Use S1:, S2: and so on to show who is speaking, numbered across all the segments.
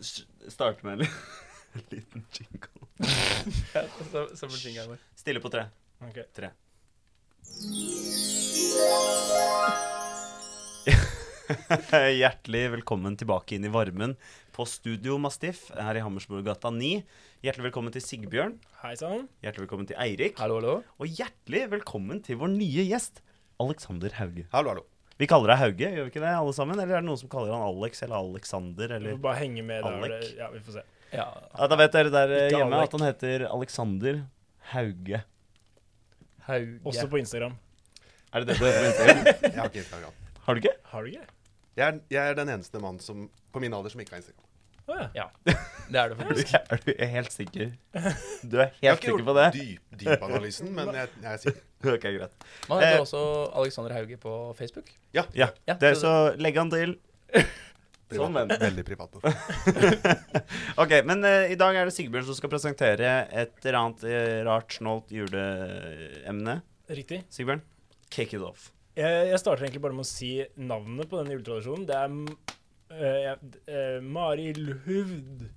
S1: S- Starte med en li- en liten jingle.
S2: Ja, så, så blir jingeren vår.
S1: Stille på tre.
S2: Ok.
S1: Tre. Hjertelig velkommen tilbake inn i varmen på Studio Mastiff her i Hammersborggata 9. Hjertelig velkommen til Sigbjørn.
S2: Hei sann.
S1: Hjertelig velkommen til Eirik.
S2: Hallo, hallo.
S1: Og hjertelig velkommen til vår nye gjest, Alexander Hauge.
S3: Hallo, hallo.
S1: Vi kaller deg Hauge, gjør vi ikke det, alle sammen? Eller er det noen som kaller han Alex eller Alexander
S2: Vi
S1: eller
S2: får bare henge med der.
S1: Alec.
S2: det- Ja, vi får se.
S4: Ja.
S1: Ja, Da vet dere der eh,
S4: Ikke
S1: hjemme
S4: Alec.
S1: at han heter Alexander Hauge.
S4: Hauge.
S2: Også på Instagram.
S1: Er det det du heter på Instagram?
S3: Jeg har ikke Instagram.
S1: Har du ikke?
S2: Har du ikke?
S3: Jeg er, jeg er den eneste mannen som, på min alder som ikke har Instagram.
S2: Å ja.
S4: Ja, det er det
S1: Du
S4: faktisk.
S1: er, er du er helt sikker? Du er
S3: Jeg har
S1: helt
S3: ikke
S1: sikker på det?
S3: gjort dyp- dypanalysen, men jeg, jeg er sikker.
S1: Ok, greit.
S4: Man heter
S1: Eh.
S4: også Alexander Hauge på Facebook.
S1: Ja,
S4: Ja,
S1: det,
S4: så-
S1: så legg han til. Sånn, men.
S3: Veldig privat. nå.
S1: Ok, men eh, i dag er det Sigbjørn som skal presentere et eller annet eh, rart, snålt juleemne.
S2: Riktig.
S1: Sigbjørn, kick it off.
S2: Jeg, jeg starter egentlig bare med å si navnet på denne juletradisjonen. Det er m- eh, jeg- eh, Mari Luhuvd.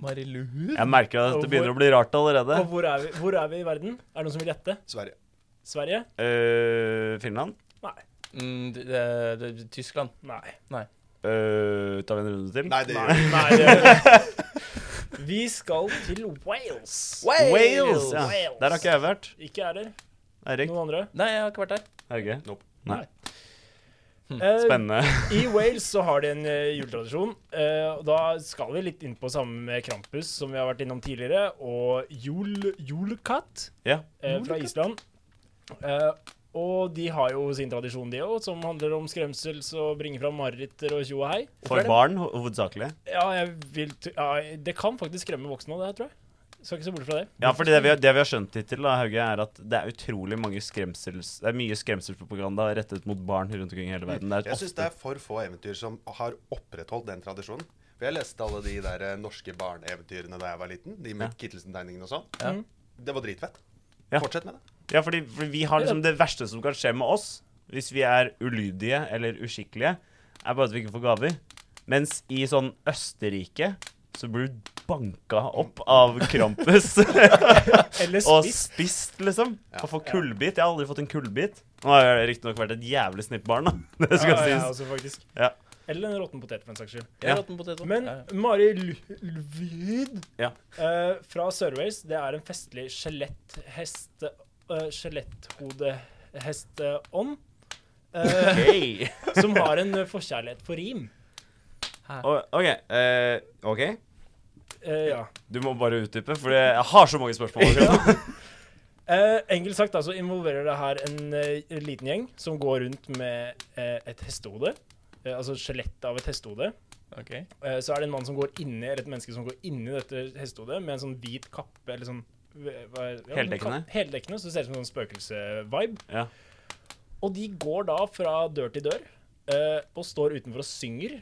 S4: Mariluhur?
S1: Jeg merker at dette begynner å bli rart allerede.
S2: Og hvor er, vi, hvor er vi i verden? Er det noen som vil gjette?
S3: Sverige.
S2: Sverige?
S1: Øh, Finland?
S2: Nei.
S4: Mm, det, det, det, Tyskland.
S2: Nei.
S1: Øh, tar vi en runde til?
S3: Nei, det gjør
S2: Nei,
S3: jeg ikke.
S2: nei det gjør vi ikke. Vi skal til Wales.
S1: Wales! ja.
S2: Wales.
S1: Der har ikke jeg vært.
S2: Ikke er der.
S1: Eirik?
S2: Noen andre?
S4: Nei, jeg har ikke vært der.
S1: Hauge?
S3: Nope.
S1: Nei.
S2: Eh,
S1: Spennende.
S2: I Wales så har de en eh, juletradisjon. eh, og da skal vi litt inn på samme med Krampus, som vi har vært innom tidligere, og jul, julekatt
S1: Ja.
S2: eh, fra Island. Eh, og de har jo sin tradisjon, de òg, som handler om skremsel, så bringe fram mareritter og tjo og hei.
S1: For barn, ho- hovedsakelig.
S2: Ja, jeg vil t ja, Det kan faktisk skremme voksne òg, det her, tror jeg. Skal ikke se bort fra det.
S1: Ja, fordi det vi, har- det vi har skjønt hittil, da, Hauge, er at det er utrolig mange skremsels... Det er mye skremselspropaganda rettet mot barn rundt omkring i hele verden. Det er
S3: Jeg syns
S1: ofte
S3: det er for få eventyr som har opprettholdt den tradisjonen. For jeg leste alle de der eh, norske barneeventyrene da jeg var liten. De med Kittelsen-tegningene og sånn.
S4: Ja.
S2: Mm.
S3: Det var dritfett.
S1: Ja.
S3: Fortsett med det.
S1: Ja, fordi, fordi vi har liksom det verste som kan skje med oss, hvis vi er ulydige eller uskikkelige, er bare at vi ikke får gaver. Mens i sånn Østerrike så blir du banka opp av Krampus
S2: Eller
S1: og
S2: spist.
S1: spist, liksom.
S3: Ja.
S1: Og får kullbit. Jeg har aldri fått en kullbit. Nå har jeg riktignok vært et jævlig snippbarn, da. Det skal
S2: Ja, jeg
S1: sies.
S2: også, faktisk.
S1: Ja.
S2: Eller en råtten potet, for en saks skyld.
S4: Jeg har
S1: Ja.
S4: hatt en potet også.
S2: Men
S4: Ja, ja.
S2: Mari Lu- Lvid
S1: Ja.
S2: eh, fra Sør-Wales, det er en festlig skjeletthest... eh, Skjeletthodehesteånd. eh,
S1: Hey.
S2: som har en eh, forkjærlighet for rim.
S1: O- OK. eh, ok.
S2: Eh, ja.
S1: Du må bare utdype, for jeg har så mange spørsmål. akkurat nå.
S2: Eh, enkelt sagt da, så involverer det her en eh, liten gjeng som går rundt med eh, et hestehode. eh, altså skjelett av et hestehode.
S4: Ok.
S2: Eh, så er det en mann som går inni, eller et menneske som går inni dette hestehodet med en sånn hvit kappe eller sånn hva er- ja,
S1: Heldekkende.
S2: kapp- Heldekkende, så det ser ut som en sånn spøkelse-vibe.
S1: Ja.
S2: Og de går da fra dør til dør eh, og står utenfor og synger.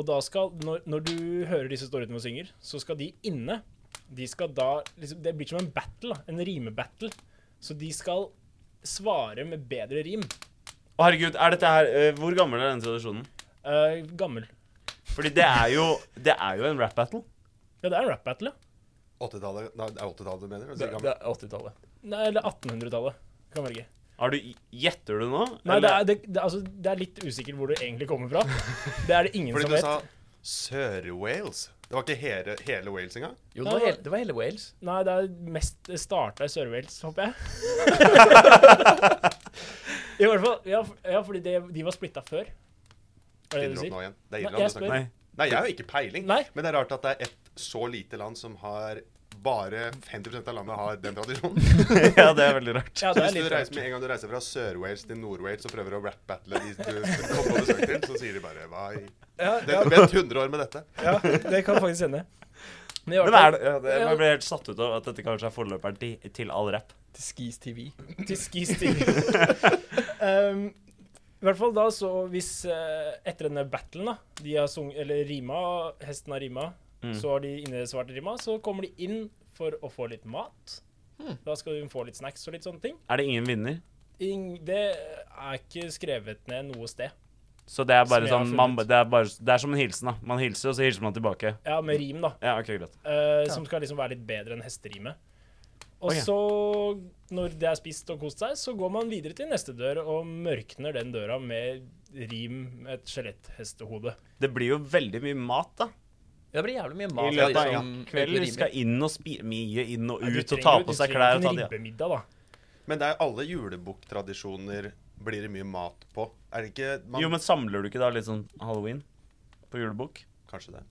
S2: Og da skal, når, når du hører de som står utenfor og synger, så skal de inne. De skal da, liksom, det blir som en battle, da, en rimebattle. Så de skal svare med bedre rim.
S1: Å, herregud, er dette her eh, Hvor gammel er denne tradisjonen?
S2: Eh, gammel.
S1: Fordi det er jo, det er jo en rap battle.
S2: Ja, det er en rap-battle.
S3: 80-tallet Nei, det er 80-tallet du mener? Du
S4: Det,
S3: sier gammel.
S4: det er 80-tallet.
S2: Nei, eller 1800-tallet. Kan velge.
S1: Har du, gjetter du nå?
S2: Nei, det er, det, det, altså, det er litt usikkert hvor du egentlig kommer fra. Det er det ingen
S3: Fordi
S2: som
S3: du
S2: vet.
S3: sa Sør-Wales. Det var ikke hele, hele Wales engang?
S4: Jo,
S2: Nei,
S4: det var,
S2: det-
S4: hele, det var hele Wales.
S2: Nei, det er mest starta i Sør-Wales, håper jeg. I hvert fall, ja, f- ja fordi det, de var splitta før. Er det det du
S3: Finner du opp
S2: sier?
S3: nå igjen? Det
S2: Nei,
S3: er
S2: jeg
S3: Irland du snakker om.
S2: spør.
S1: Nei.
S3: Nei, jeg har jo ikke peiling.
S2: Nei.
S3: Men det er rart at det er et så lite land som har bare 50 av landet har den tradisjonen.
S1: ja, det er veldig rart.
S2: Ja,
S3: Så
S2: det er
S3: hvis du
S2: litt
S3: reiser
S2: rart.
S3: med en gang du reiser fra Sør-Wales til Nord-Wales og prøver å rap-battle de du kom på besøk til, så sier de bare Hva i
S2: Ja,
S3: Det har vent 100 år med dette.
S2: ja, det kan faktisk hende. Men i
S1: Men
S2: hvert
S1: er
S2: fall,
S1: det, ja, det, jeg ble helt satt ut av at dette kanskje er forløperen til, til all rap.
S4: Til Skis TV.
S2: til skistig. um, I hvert fall da, så hvis eh, Etter denne battlen, da, de har sunget Eller rima, hesten har rima,
S1: Mm.
S2: så har de innesvart rima, så kommer de inn for å få litt mat. Da skal de få litt snacks og litt sånne ting.
S1: Er det ingen vinner?
S2: Ing, det er ikke skrevet ned noe sted.
S1: Så det er bare
S2: Som jeg har
S1: sånn man,
S2: funnet.
S1: det, er bare, det er som en hilsen, da. Man hilser, og så hilser man tilbake.
S2: Ja, med rim, da.
S1: Ja, ok, greit.
S2: eh, Som skal liksom være litt bedre enn hesterimet. Og
S1: Ok.
S2: så, når det er spist og kost seg, så går man videre til neste dør og mørkner den døra med rim, med et skjeletthestehode.
S1: Det blir jo veldig mye mat, da.
S4: Det blir jævlig mye
S1: I
S4: mat.
S1: løpet av
S4: liksom,
S1: en kveld.
S4: egentlig
S1: Vi skal
S4: rimer.
S1: inn og spi mye inn og
S2: Ja, du
S1: ut og
S2: trenger
S1: ta
S2: jo-
S1: på seg
S2: Du
S1: klær. og
S2: trenger
S1: ta
S2: ikke en
S1: det-
S2: ribbemiddag, da.
S3: Men det er alle julebukktradisjoner blir det mye mat på. Er det ikke man,
S1: Jo, men samler du ikke da litt sånn halloween på julebukk?
S3: Kanskje det.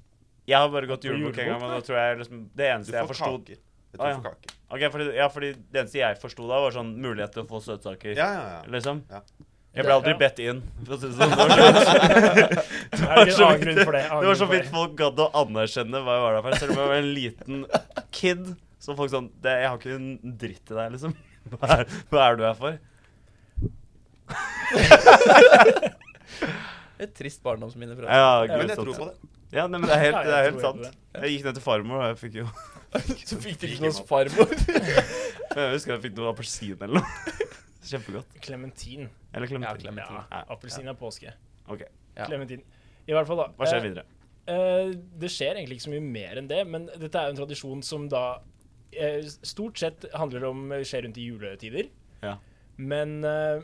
S1: Jeg har bare gått
S2: På
S1: julebukk en gang,
S2: julebukk,
S1: men da tror jeg liksom Det
S3: Du
S1: eneste jeg
S3: får
S1: forsto
S3: kaker.
S1: Ah,
S3: Jeg tror
S1: ja.
S3: du får kaker.
S1: Ok, fordi, Ja, fordi det eneste jeg forsto da, var sånn mulighet til å få søtsaker,
S3: Ja, ja, ja.
S1: liksom.
S3: Ja.
S1: Jeg ble aldri
S2: Ja.
S1: bedt inn, for å si det sånn. Det var så-
S2: Det er ikke
S1: så
S2: en annen
S1: vidt-
S2: grunn for det.
S1: Det var så vidt folk gadd å anerkjenne hva jeg var der for. Selv om jeg var en liten kid, så folk sånn det, 'Jeg har ikke en dritt i deg, liksom. Hva er, hva er du her for?'
S4: Et trist barndomsminne fra
S1: Ja,
S2: Ja,
S1: gud,
S3: Men jeg
S1: sant.
S3: tror på det.
S1: Ja, nei, men det er helt,
S2: Ja, jeg
S1: det er helt
S2: tror
S1: sant.
S2: på det.
S1: Jeg gikk ned til farmor, og jeg fikk jo
S4: Så fikk du ikke noe hos farmor.
S1: Jeg husker jeg fikk noe appelsin eller noe. Kjempegodt.
S2: Klementin.
S1: Eller
S4: Ja,
S1: klementin.
S4: klem. Clementin.
S2: Ja, Appelsin er påske.
S1: Ok,
S4: Ja.
S2: Clementin. I hvert fall, da.
S1: Hva skjer
S2: Eh,
S1: videre?
S2: Eh, det skjer egentlig ikke så mye mer enn det, men dette er jo en tradisjon som da eh, stort sett handler om eh, skjer rundt i juletider.
S1: Ja.
S2: Men eh,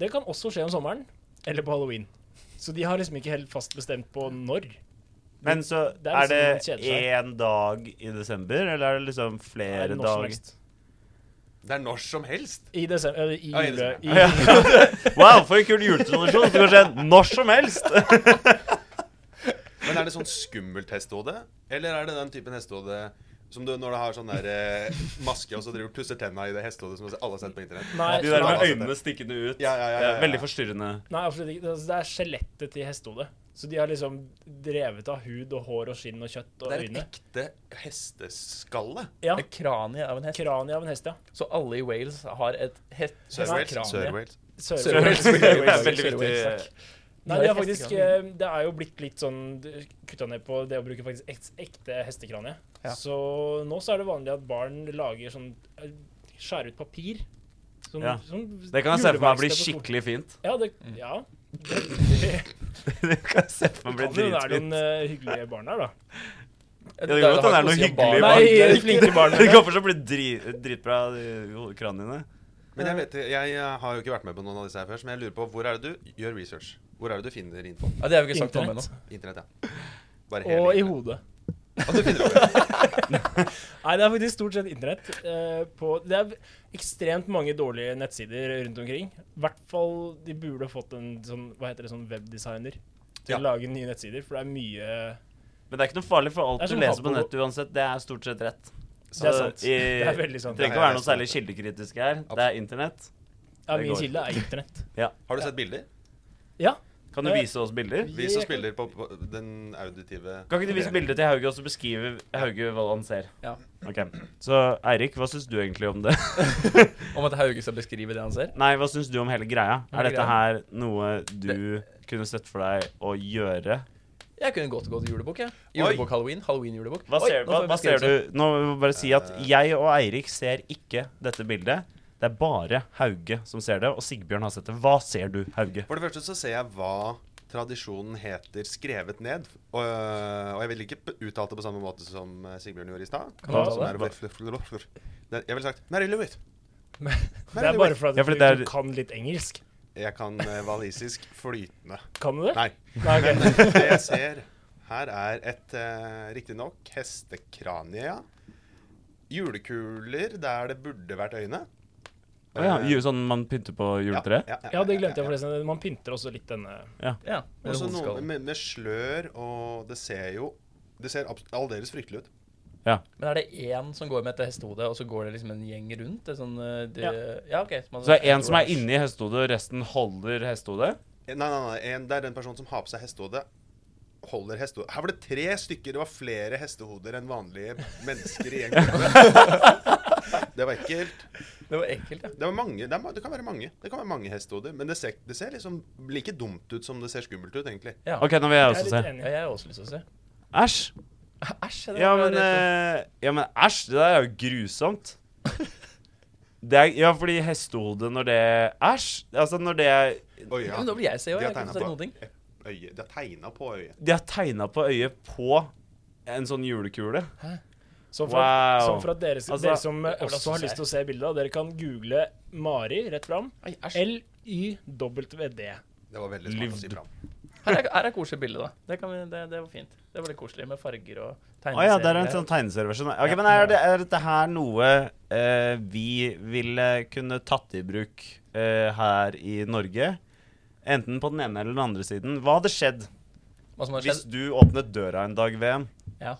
S2: det kan også skje om sommeren eller på halloween. Så de har liksom ikke helt fast bestemt på når.
S1: Men så
S2: det er
S1: er det
S2: liksom man kjeder seg.
S1: én dag i desember, eller er det liksom
S2: Er
S1: flere
S2: det når som
S1: dager?
S2: helst.
S3: Det er når som helst.
S2: I desember eh, I
S3: Ja, i
S2: jule...
S3: desember.
S2: I,
S1: Ja. Wow, for en kul juletradisjon! Så kan skje når som helst!
S3: Men er det sånn skummelt hestehode? Eller er det den typen hestehode som du, når du har sånn der eh, maske, og så driver du pusser tenna i det hestehodet som alle har sett på internett?
S2: Nei,
S1: De der
S2: nei,
S1: med øynene stikkende ut.
S3: Ja, ja, ja, ja, ja.
S1: Veldig forstyrrende.
S2: nei, absolutt ikke. Altså, Det er skjelettet til hestehodet. Så de har liksom drevet av hud og hår og skinn og kjøtt og
S3: Det er et
S2: øyne.
S3: ekte hesteskalle.
S2: Ja.
S4: Et kranie av en hest.
S2: Kraniet av en hest, ja.
S4: Så alle i Wales har et hest...
S3: Sør-Wales.
S4: kranie.
S3: Sør-Wales.
S2: Sør-Ør.
S4: Sør-Wales.
S1: Det er veldig
S4: Sør-Wales,
S1: viktig.
S4: takk.
S2: Nei,
S4: Det
S2: det
S4: er
S2: er, faktisk,
S4: hestekranier.
S2: eh, det er jo blitt litt sånn kutta ned på det å bruke faktisk ek- ekte hestekranie.
S4: Ja.
S2: Så nå så er det vanlig at barn lager sånn eh, Skjærer ut papir. Sånn,
S1: Ja.
S2: sånn
S1: Det kan jeg se for meg blir
S2: juleverksted på sko-
S1: skikkelig Mm. fint.
S2: Ja, det, ja.
S1: Det kan jeg se for meg
S2: Kan jo
S1: blir
S2: være noen
S1: dritfint.
S2: eh, hyggelige barn her, da.
S4: Ja,
S1: det er
S4: der
S1: godt han
S4: har
S1: er noe
S4: ikke å si om
S1: hyggelig
S4: barn.
S1: barn.
S4: Nei,
S2: Nei, flinke barn.
S1: Det kommer til å bli dri- dritbra, de kraniene.
S3: Men jeg, vet, jeg eh, har jo ikke vært med på noen av disse her før, så jeg lurer på hvor er det du gjør research? Hvor er det du finner info?
S4: Ja, det har vi ikke sagt noe om ennå.
S2: Internett.
S3: Internett, ja. Bare hele
S2: Og i
S3: internett.
S2: hodet.
S3: Og du finner det.
S2: Nei, det er faktisk stort sett internett. eh, på, det er ekstremt mange dårlige nettsider rundt omkring. I hvert fall de burde fått en sånn, hva heter det, sånn webdesigner til
S3: Ja.
S2: å lage nye nettsider, for det er mye
S1: Men det er ikke noe farlig, for
S2: Det
S1: alt
S2: er
S1: du
S2: som
S1: leser på
S2: Habbo-
S1: nettet uansett, det er stort sett rett.
S2: Det er sant.
S1: i-
S2: Det er veldig sant.
S1: Det trenger
S3: Ja,
S1: ikke å
S3: jeg
S1: være noe
S3: leser
S1: særlig kildekritisk her. Det
S3: Absolutt.
S1: er internett.
S2: Ja,
S1: Det
S2: min
S1: går.
S2: kilde er internett.
S3: Har du sett bilder?
S2: Ja.
S1: Kan du
S2: Eh,
S1: vise oss bilder?
S3: Vi som spiller på, på den auditive
S1: Kan ikke du vise bilder til Hauge og så beskrive Hauge hva han ser?
S4: Ja.
S1: Ok, Så Eirik, hva syns du egentlig om det?
S4: Om at Hauge skal beskrive det han ser.
S1: Nei, hva syns du om hele greia?
S4: Hele
S1: Er dette
S4: greia?
S1: her noe du kunne sett for deg å gjøre?
S4: Jeg kunne godt gått julebukk, jeg. Julebukk-halloween. Halloween-julebukk.
S1: Hva ser, hva, hva ser du? Nå må vi bare si at
S3: Eh.
S1: jeg og Eirik ser ikke dette bildet. Det er bare Hauge som ser det, og Sigbjørn har sett det. Hva ser du, Hauge?
S3: For det første så ser jeg hva tradisjonen heter skrevet ned. Og, øh, og jeg ville ikke p- uttalt det på samme måte som øh, Sigbjørn gjorde i stad.
S4: Kan du
S3: som
S4: uttale
S3: er
S1: det?
S3: å fl- fl- fl- fl- Det- Jeg ville sagt Mary Louis.
S2: Det er bare fordi
S1: Ja,
S2: du,
S1: fordi det er-
S2: du kan litt engelsk.
S3: Jeg kan øh, walisisk flytende.
S2: Kan du det?
S3: Nei.
S2: Nei, ok.
S3: Men det jeg ser her, er et uh, riktignok hestekranie, ja. Julekuler der det burde vært øyne.
S1: Å ja,
S3: Eh,
S1: ju- sånn man pynter på juletreet?
S3: Ja, ja, ja,
S2: Ja, det
S3: ja,
S2: glemte jeg
S3: ja.
S2: forresten. Man pynter også litt denne
S4: Ja, med
S3: Også noe
S4: hodeskallen.
S3: med, med slør, og det ser jo Det ser abs- aldeles fryktelig ut.
S4: Men er det én som går med et hestehode, og så går det liksom en gjeng rundt? Det er sånn, eh, det, ja. ok. så man-
S1: Så det er én som er
S4: oransje.
S1: inni hestehodet, og resten holder hestehodet?
S3: Eh, Nei, nei, nei, en, det er den personen som har på seg hestehode. Holder hestehode Her var det tre stykker. Det var flere hestehoder enn vanlige mennesker i en gruppe. Det var ekkelt.
S4: Det var ekkelt, ja.
S3: Det, var mange, det, er, ma- det kan være mange Det kan være mange hestehoder. Men det ser, det ser liksom like dumt ut som det ser skummelt ut, egentlig.
S4: ja.
S1: OK, nå vil jeg
S2: Jeg er
S1: også
S2: litt
S1: se.
S4: Ja,
S2: enig.
S4: jeg har også lyst til å se.
S1: Æsj!
S4: Æsj. det
S1: Ja,
S4: var
S1: men
S4: rett og-
S1: eh, Ja, men æsj! Det der er jo grusomt. Det er, ja, fordi hestehodet når det Æsj! Altså, når det
S3: Oi,
S4: ja.
S3: ja.
S4: Men da blir jeg se, og
S3: De
S4: jeg
S3: har
S4: kan
S3: tegnet
S4: ikke se
S3: på
S4: noen ting.
S3: øyet. Det er tegna på øyet.
S1: De har tegna på øyet på en sånn julekule.
S2: Så for, at-
S1: Wow.
S2: så for at dere,
S1: Altså,
S2: dere som eh,
S4: det er
S2: også har
S4: sær.
S2: lyst til å se bildet, av, dere kan google Mari rett fram.
S4: Ai, æsj.
S2: L-Y-W-D.
S3: Det var veldig smart å si
S1: Lyvd.
S3: fram.
S4: Her er, her er koselig bilde, da. Det, kan vi, det, det var fint. Det var litt koselig med farger og
S1: Å
S4: tegneserier.
S1: ja, det er en sånn tegneserieversjon. Ok, men er, det, er dette her noe eh, vi ville kunne tatt i bruk eh, her i Norge? Enten på den ene eller den andre siden. Hva hadde skjedd
S4: Hva som har
S1: hvis
S4: skjedd?
S1: du åpnet døra en dag, VM,
S4: Ja.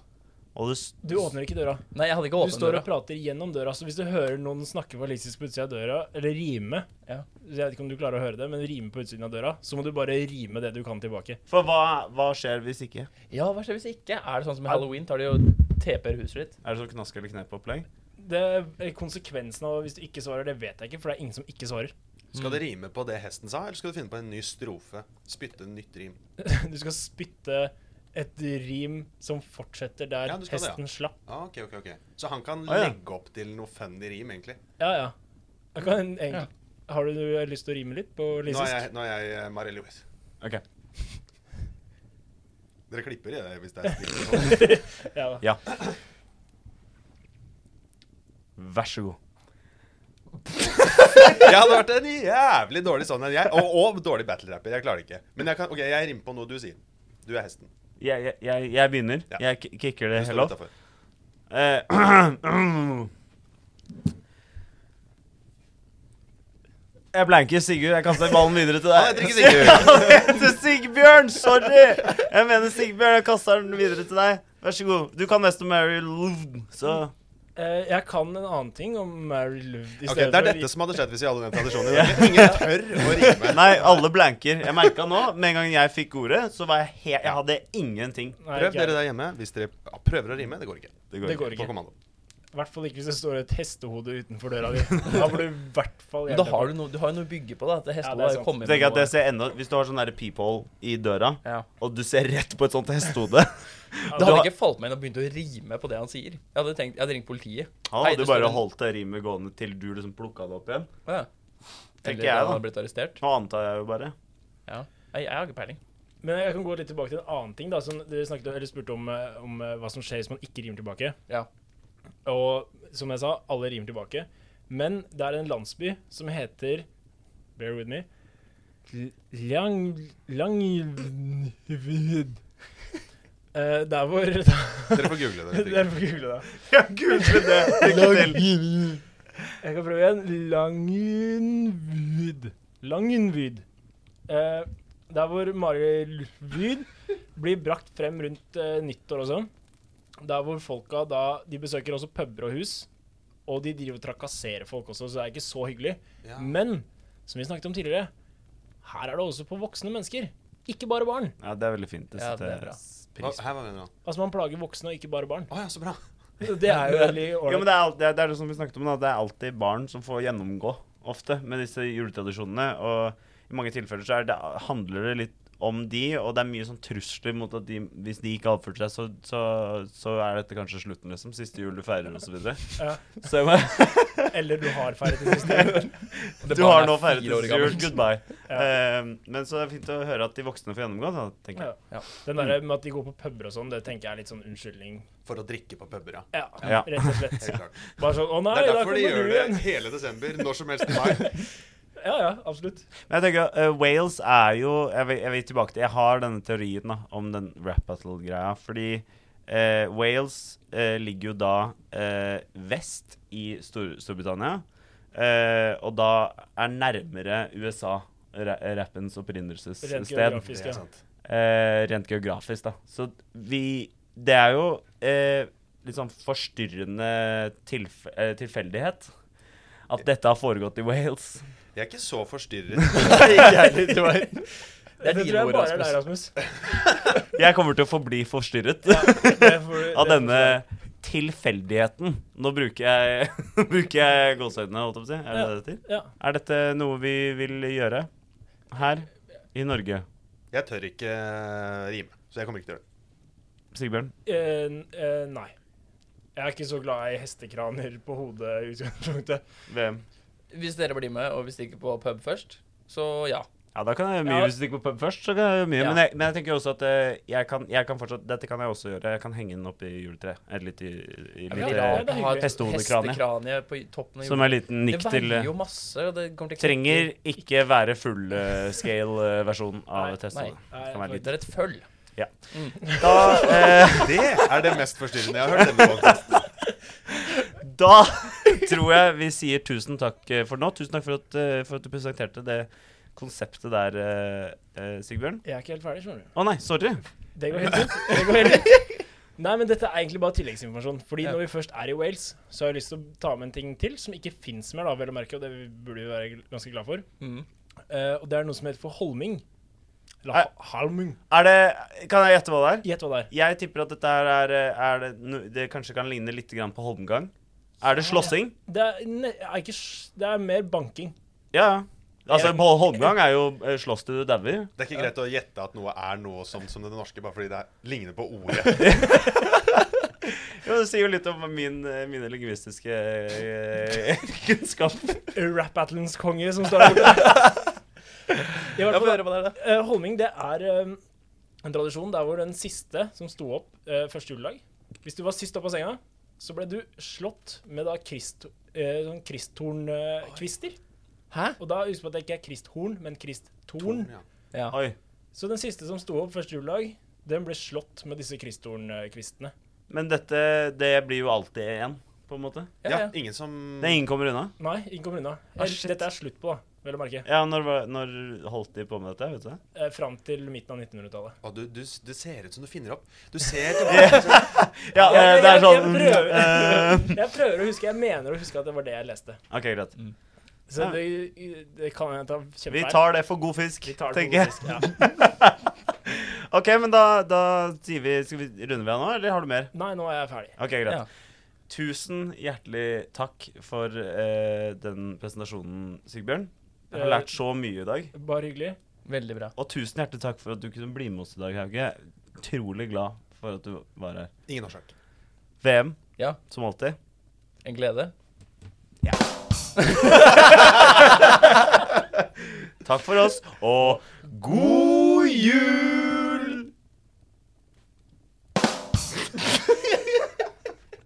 S1: og du s-
S2: Du åpner ikke døra.
S4: Nei, jeg hadde ikke
S2: Du
S4: åpnet
S2: står og
S4: døra.
S2: prater gjennom døra. Så hvis du hører noen snakke walisisk på utsida av døra, eller rime
S4: Ja.
S2: Jeg vet ikke om du klarer å høre det, men rime på utsiden av døra, så må du bare rime det du kan tilbake.
S1: For hva, hva skjer hvis ikke?
S4: ja, hva skjer hvis ikke? Er det sånn som i halloween? Tar de og teper huset ditt?
S1: Er det sånn knask eller knep-opplegg?
S2: Det, konsekvensen av hvis du ikke svarer, det vet jeg ikke, for det er ingen som ikke svarer.
S4: Mm.
S3: Skal det rime på det hesten sa, eller skal du finne på en ny strofe? Spytte en nytt rim.
S2: Du skal spytte et rim som fortsetter der
S3: Ja, du skal det, ja.
S2: hesten slapp.
S3: Ah, ok, ok, ok. Så han kan
S1: Ah, ja.
S3: legge opp til noe funny rim, egentlig.
S2: Ja, ja. Jeg kan, egentlig- Har du, du lyst til å rime litt på
S3: Nå er
S2: lisisk?
S3: jeg, nå er jeg eh, Mari Louise.
S1: Ok.
S3: Dere klipper i sånn. det hvis det er stil.
S2: Ja, da.
S1: Ja. Vær så god.
S3: Jeg hadde vært en jævlig dårlig sånn enn jeg. Og, og dårlig battle-rapper. Jeg klarer det ikke. Men jeg kan, ok, jeg rimer på noe du sier. Du er hesten.
S1: Jeg, jeg- jeg, jeg begynner.
S3: Ja.
S1: Jeg k- kicker
S3: Du
S1: det
S3: står
S1: hele opp.
S3: utenfor.
S1: Eh, Jeg blanker Sigurd. Jeg kaster ballen videre til deg.
S3: Han heter ikke Sigurd.
S1: Han heter Sigbjørn! Sorry! Jeg mener Sigbjørn. Jeg kaster den videre til deg. Vær så god. Du kan mest om Mary Lou, så
S2: Eh, jeg kan en annen ting om Mary Lou. i
S3: Ok,
S2: stedet
S3: det er
S2: for-
S3: dette som hadde skjedd hvis vi hadde den tradisjonen i Norge. Ingen tør å rime.
S1: Nei, alle blanker. Jeg merka nå, med en gang jeg fikk ordet, så var jeg helt Jeg hadde ingenting.
S2: Nei,
S3: Prøv
S2: ikke
S3: dere
S2: jeg.
S3: der hjemme. Hvis dere ja, prøver å rime, det går ikke.
S2: Det går
S3: På
S2: ikke.
S3: kommando.
S2: I hvert fall ikke hvis det står et hestehode utenfor døra di. Da blir du i hvert fall
S4: Men da har du, noe, du har jo noe å bygge på, da. Dette
S2: Ja, det
S4: hestehodet
S2: er
S4: har jo
S2: sant.
S4: kommet
S1: Tenk at det
S4: noe-
S1: ser enda Hvis du har sånn der peephole i døra,
S4: ja.
S1: og du ser rett på et sånt hestehode
S4: Det hadde
S1: har-
S4: ikke falt meg inn og begynt å rime på det han sier. Jeg hadde, tenkt, jeg hadde ringt politiet.
S1: Han
S4: Hei,
S1: hadde
S4: det
S1: jo bare
S4: står en-
S1: holdt det rimet gående til du liksom plukka det opp igjen.
S4: Ja.
S1: Tenker
S4: Eller
S1: jeg,
S4: jeg,
S1: da.
S4: hadde blitt arrestert.
S1: Nå antar jeg jo bare.
S4: Ja. Nei, jeg har ikke peiling.
S2: Men jeg kan gå litt tilbake til en annen ting. da, som Dere snakket, eller spurte om, eh, om eh, hva som skjer hvis man ikke rimer tilbake.
S4: Ja.
S2: Og som jeg sa, alle rimer tilbake. Men det er en landsby som heter Bear with me. L- Lang... Lang... Eh, der hvor
S3: Dere får google det.
S2: Dere får google det.
S1: Ja, google det! Lykke til.
S2: Jeg kan prøve igjen. Langenvyd. Langenvyd. Eh, der hvor Mari Lvyd blir brakt frem rundt eh, nyttår og sånn. Der hvor folka da De besøker også puber og hus. Og de driver og trakasserer folk også, så det er ikke så hyggelig.
S3: Ja.
S2: Men som vi snakket om tidligere, her er det også på voksne mennesker. Ikke bare barn.
S1: Ja, det er veldig fint. Det
S4: Ja,
S1: setter
S4: det er bra.
S1: jeg
S3: Hva,
S1: pris på.
S3: her, hva mener du nå?
S2: Altså, man plager voksne og ikke bare barn.
S3: Å ja, så bra.
S2: Det er jo veldig
S1: Ja, men
S2: ålreit.
S1: det er, alt- det, er, det er det som vi snakket om, da. Det er alltid barn som får gjennomgå ofte med disse juletradisjonene. Og i mange tilfeller så er det, handler det litt om de, og det er mye sånn trusler mot at de, hvis de ikke oppførte seg, så, så, så er dette kanskje slutten, liksom. Siste jul du feirer, og så videre.
S2: Ja.
S1: Så jeg bare
S2: Eller du har feiret det siste.
S4: Det
S1: Du
S4: barnet
S1: har
S4: er
S1: nå feiret
S4: fire år
S1: din jul.
S4: gammelt.
S1: Goodbye.
S2: Ja.
S1: Eh, men så er det fint å høre at de voksne får gjennomgå, da, tenker jeg.
S2: Ja. Den der med at de går på puber og sånn, det tenker jeg er litt sånn unnskyldning.
S3: For å drikke på puber, ja.
S2: Ja,
S1: Ja.
S2: rett og slett.
S3: Helt klart.
S2: Bare sånn 'Å nei,
S3: Det er
S2: da
S3: derfor
S2: kommer
S3: de gjør
S2: du
S3: det
S2: igjen'.
S3: hele desember, når som helst i mai.
S2: Ja, ja, absolutt.
S1: Men jeg tenker, eh, Wales er jo jeg vil, jeg vil tilbake til Jeg har denne teorien da, om den rap battle-greia. Fordi eh, Wales eh, ligger jo da eh, vest i Stor Storbritannia. eh, og da er nærmere USA ra rappens
S2: Rent
S1: opprinnelsessted.
S2: geografisk. Ja.
S1: eh, rent geografisk, da. Så vi Det er jo eh, litt sånn forstyrrende tilf eh, tilfeldighet at dette har foregått i Wales.
S3: Jeg er ikke så forstyrret.
S1: jeg,
S2: Det
S4: Det er
S2: tror
S4: dine
S2: jeg
S4: ord,
S2: bare er deg,
S4: Rasmus.
S2: Rasmus.
S1: jeg kommer til å forbli forstyrret
S2: Det får
S1: av
S2: du- det får du-
S1: denne tilfeldigheten. Nå bruker jeg, bruker jeg gåseøynene, holdt jeg på å si. Er, det det det heter?
S2: Ja.
S1: er dette noe vi vil gjøre her i Norge?
S3: Jeg tør ikke eh, rime, så jeg kommer ikke til å gjøre det.
S1: Sigbjørn?
S2: Eh, n- eh, nei. Jeg er ikke så glad i hestekraner på hodet i utgangspunktet.
S1: VM?
S4: Hvis dere blir med, og hvis dere ikke på pub først, så ja.
S1: Ja, da kan jeg gjøre mye
S2: Ja.
S1: hvis du stikker på pub først. så kan jeg gjøre mye,
S4: Ja.
S1: men, jeg, men jeg tenker også at eh, jeg kan, jeg kan fortsatt, dette kan jeg også gjøre. Jeg kan henge den opp i juletreet. Et litt i, i
S4: Det
S1: litt,
S4: blir
S2: det-
S1: eh,
S4: rart å ha et
S1: hestehodekranie.
S4: hestekranie på toppen av
S1: Som en liten nikk
S4: Det
S1: til
S4: veier
S1: eh,
S4: jo masse, og det kommer til å
S1: Trenger ikke være eh, full-scale-versjon av
S2: Nei,
S1: testene.
S2: nei,
S1: Det kan være
S2: for-
S1: litt.
S4: Det er et føll.
S1: Da, eh,
S3: Det er det mest forstyrrende jeg har hørt. denne podcasten.
S1: da tror jeg vi sier tusen takk eh, for nå. Tusen takk for at, eh, for at du presenterte det konseptet der, eh, eh, Sigbjørn.
S2: Jeg er ikke helt ferdig, skjønner du.
S1: Å nei, sorry.
S2: Det går helt fint. Det går helt fint. Nei, men dette er egentlig bare tilleggsinformasjon. Fordi
S4: Ja.
S2: når vi først er i Wales, så har jeg lyst til å ta med en ting til som ikke fins mer, da, vel å merke, og det burde vi være ganske glad for.
S4: Mm.
S2: Eh, og det er noe som heter for holming. Eller ha- halming.
S1: Er det, kan jeg gjette hva det er?
S2: Gjett hva det er.
S1: Jeg tipper at dette her er, eh, er det, no, det kanskje kan ligne litt grann på Holmgang. Er det slåssing?
S2: Det er, ne, er ikke, s- det er mer banking.
S1: Ja, ja. Altså, på Holmgang er jo eh, slåss til du dauer.
S3: Det er ikke greit å gjette at noe er noe sånn som det norske, bare fordi det er- ligner på ordet.
S1: Jo, det sier jo litt om min, eh, mine lingvistiske eh, kunnskaper.
S2: Rap-battlens konge som står der borte. I hvert
S4: Jeg får
S2: fall,
S4: høre hva det er, da.
S2: eh, holming, det er eh, en tradisjon der hvor den siste som sto opp eh, første juledag Hvis du var sist opp av senga, så ble du slått med da krist, eh, sånn kristtornkvister.
S4: Hæ?
S2: og da husk på at det ikke er kristhorn, men kristtorn.
S3: Ja.
S4: Ja.
S1: Oi.
S2: Så den siste som sto opp første juledag, den ble slått med disse kristtornkvistene.
S1: Men dette, det blir jo alltid én, på en måte.
S4: Ja, ja.
S3: Ja, ingen som
S1: Det er ingen kommer unna.
S2: Nei, ingen kommer unna.
S1: Ah,
S2: Eller,
S1: shit.
S2: Dette er slutt på, da, vel å merke.
S1: Ja, når, var- når holdt de på med dette? vet du det?
S2: Eh, fram til midten av 1900-tallet.
S3: Å, du, du, det ser ut som du finner opp. Du ser tilbake.
S1: Ja,
S2: Ja,
S1: eh,
S2: jeg-
S1: det er
S2: jeg-
S1: sånn
S2: jeg
S1: eh,
S2: Jeg prøver å huske, jeg mener å huske at det var det jeg leste.
S1: OK, greit.
S2: Så
S1: Ja.
S2: det, det kan jeg ta kjempefeil.
S1: Vi tar det for god fisk,
S2: Vi tar det
S1: tenker jeg.
S2: på god fisk, ja.
S1: OK, men da, da sier vi Skal vi runde vi av nå, eller har du mer?
S2: Nei, nå er jeg ferdig.
S1: Ok, greit.
S4: Ja.
S1: Tusen hjertelig takk for eh, den presentasjonen, Sigbjørn. Jeg har
S2: Eh,
S1: lært så mye i dag.
S2: Bare hyggelig.
S4: Veldig bra.
S1: Og tusen hjertelig takk for at du kunne bli med oss i dag, Hauge. Utrolig glad for at du var her.
S3: Ingen årsak.
S1: VM,
S4: Ja,
S1: som alltid.
S4: en glede.
S1: Takk for oss, og god jul!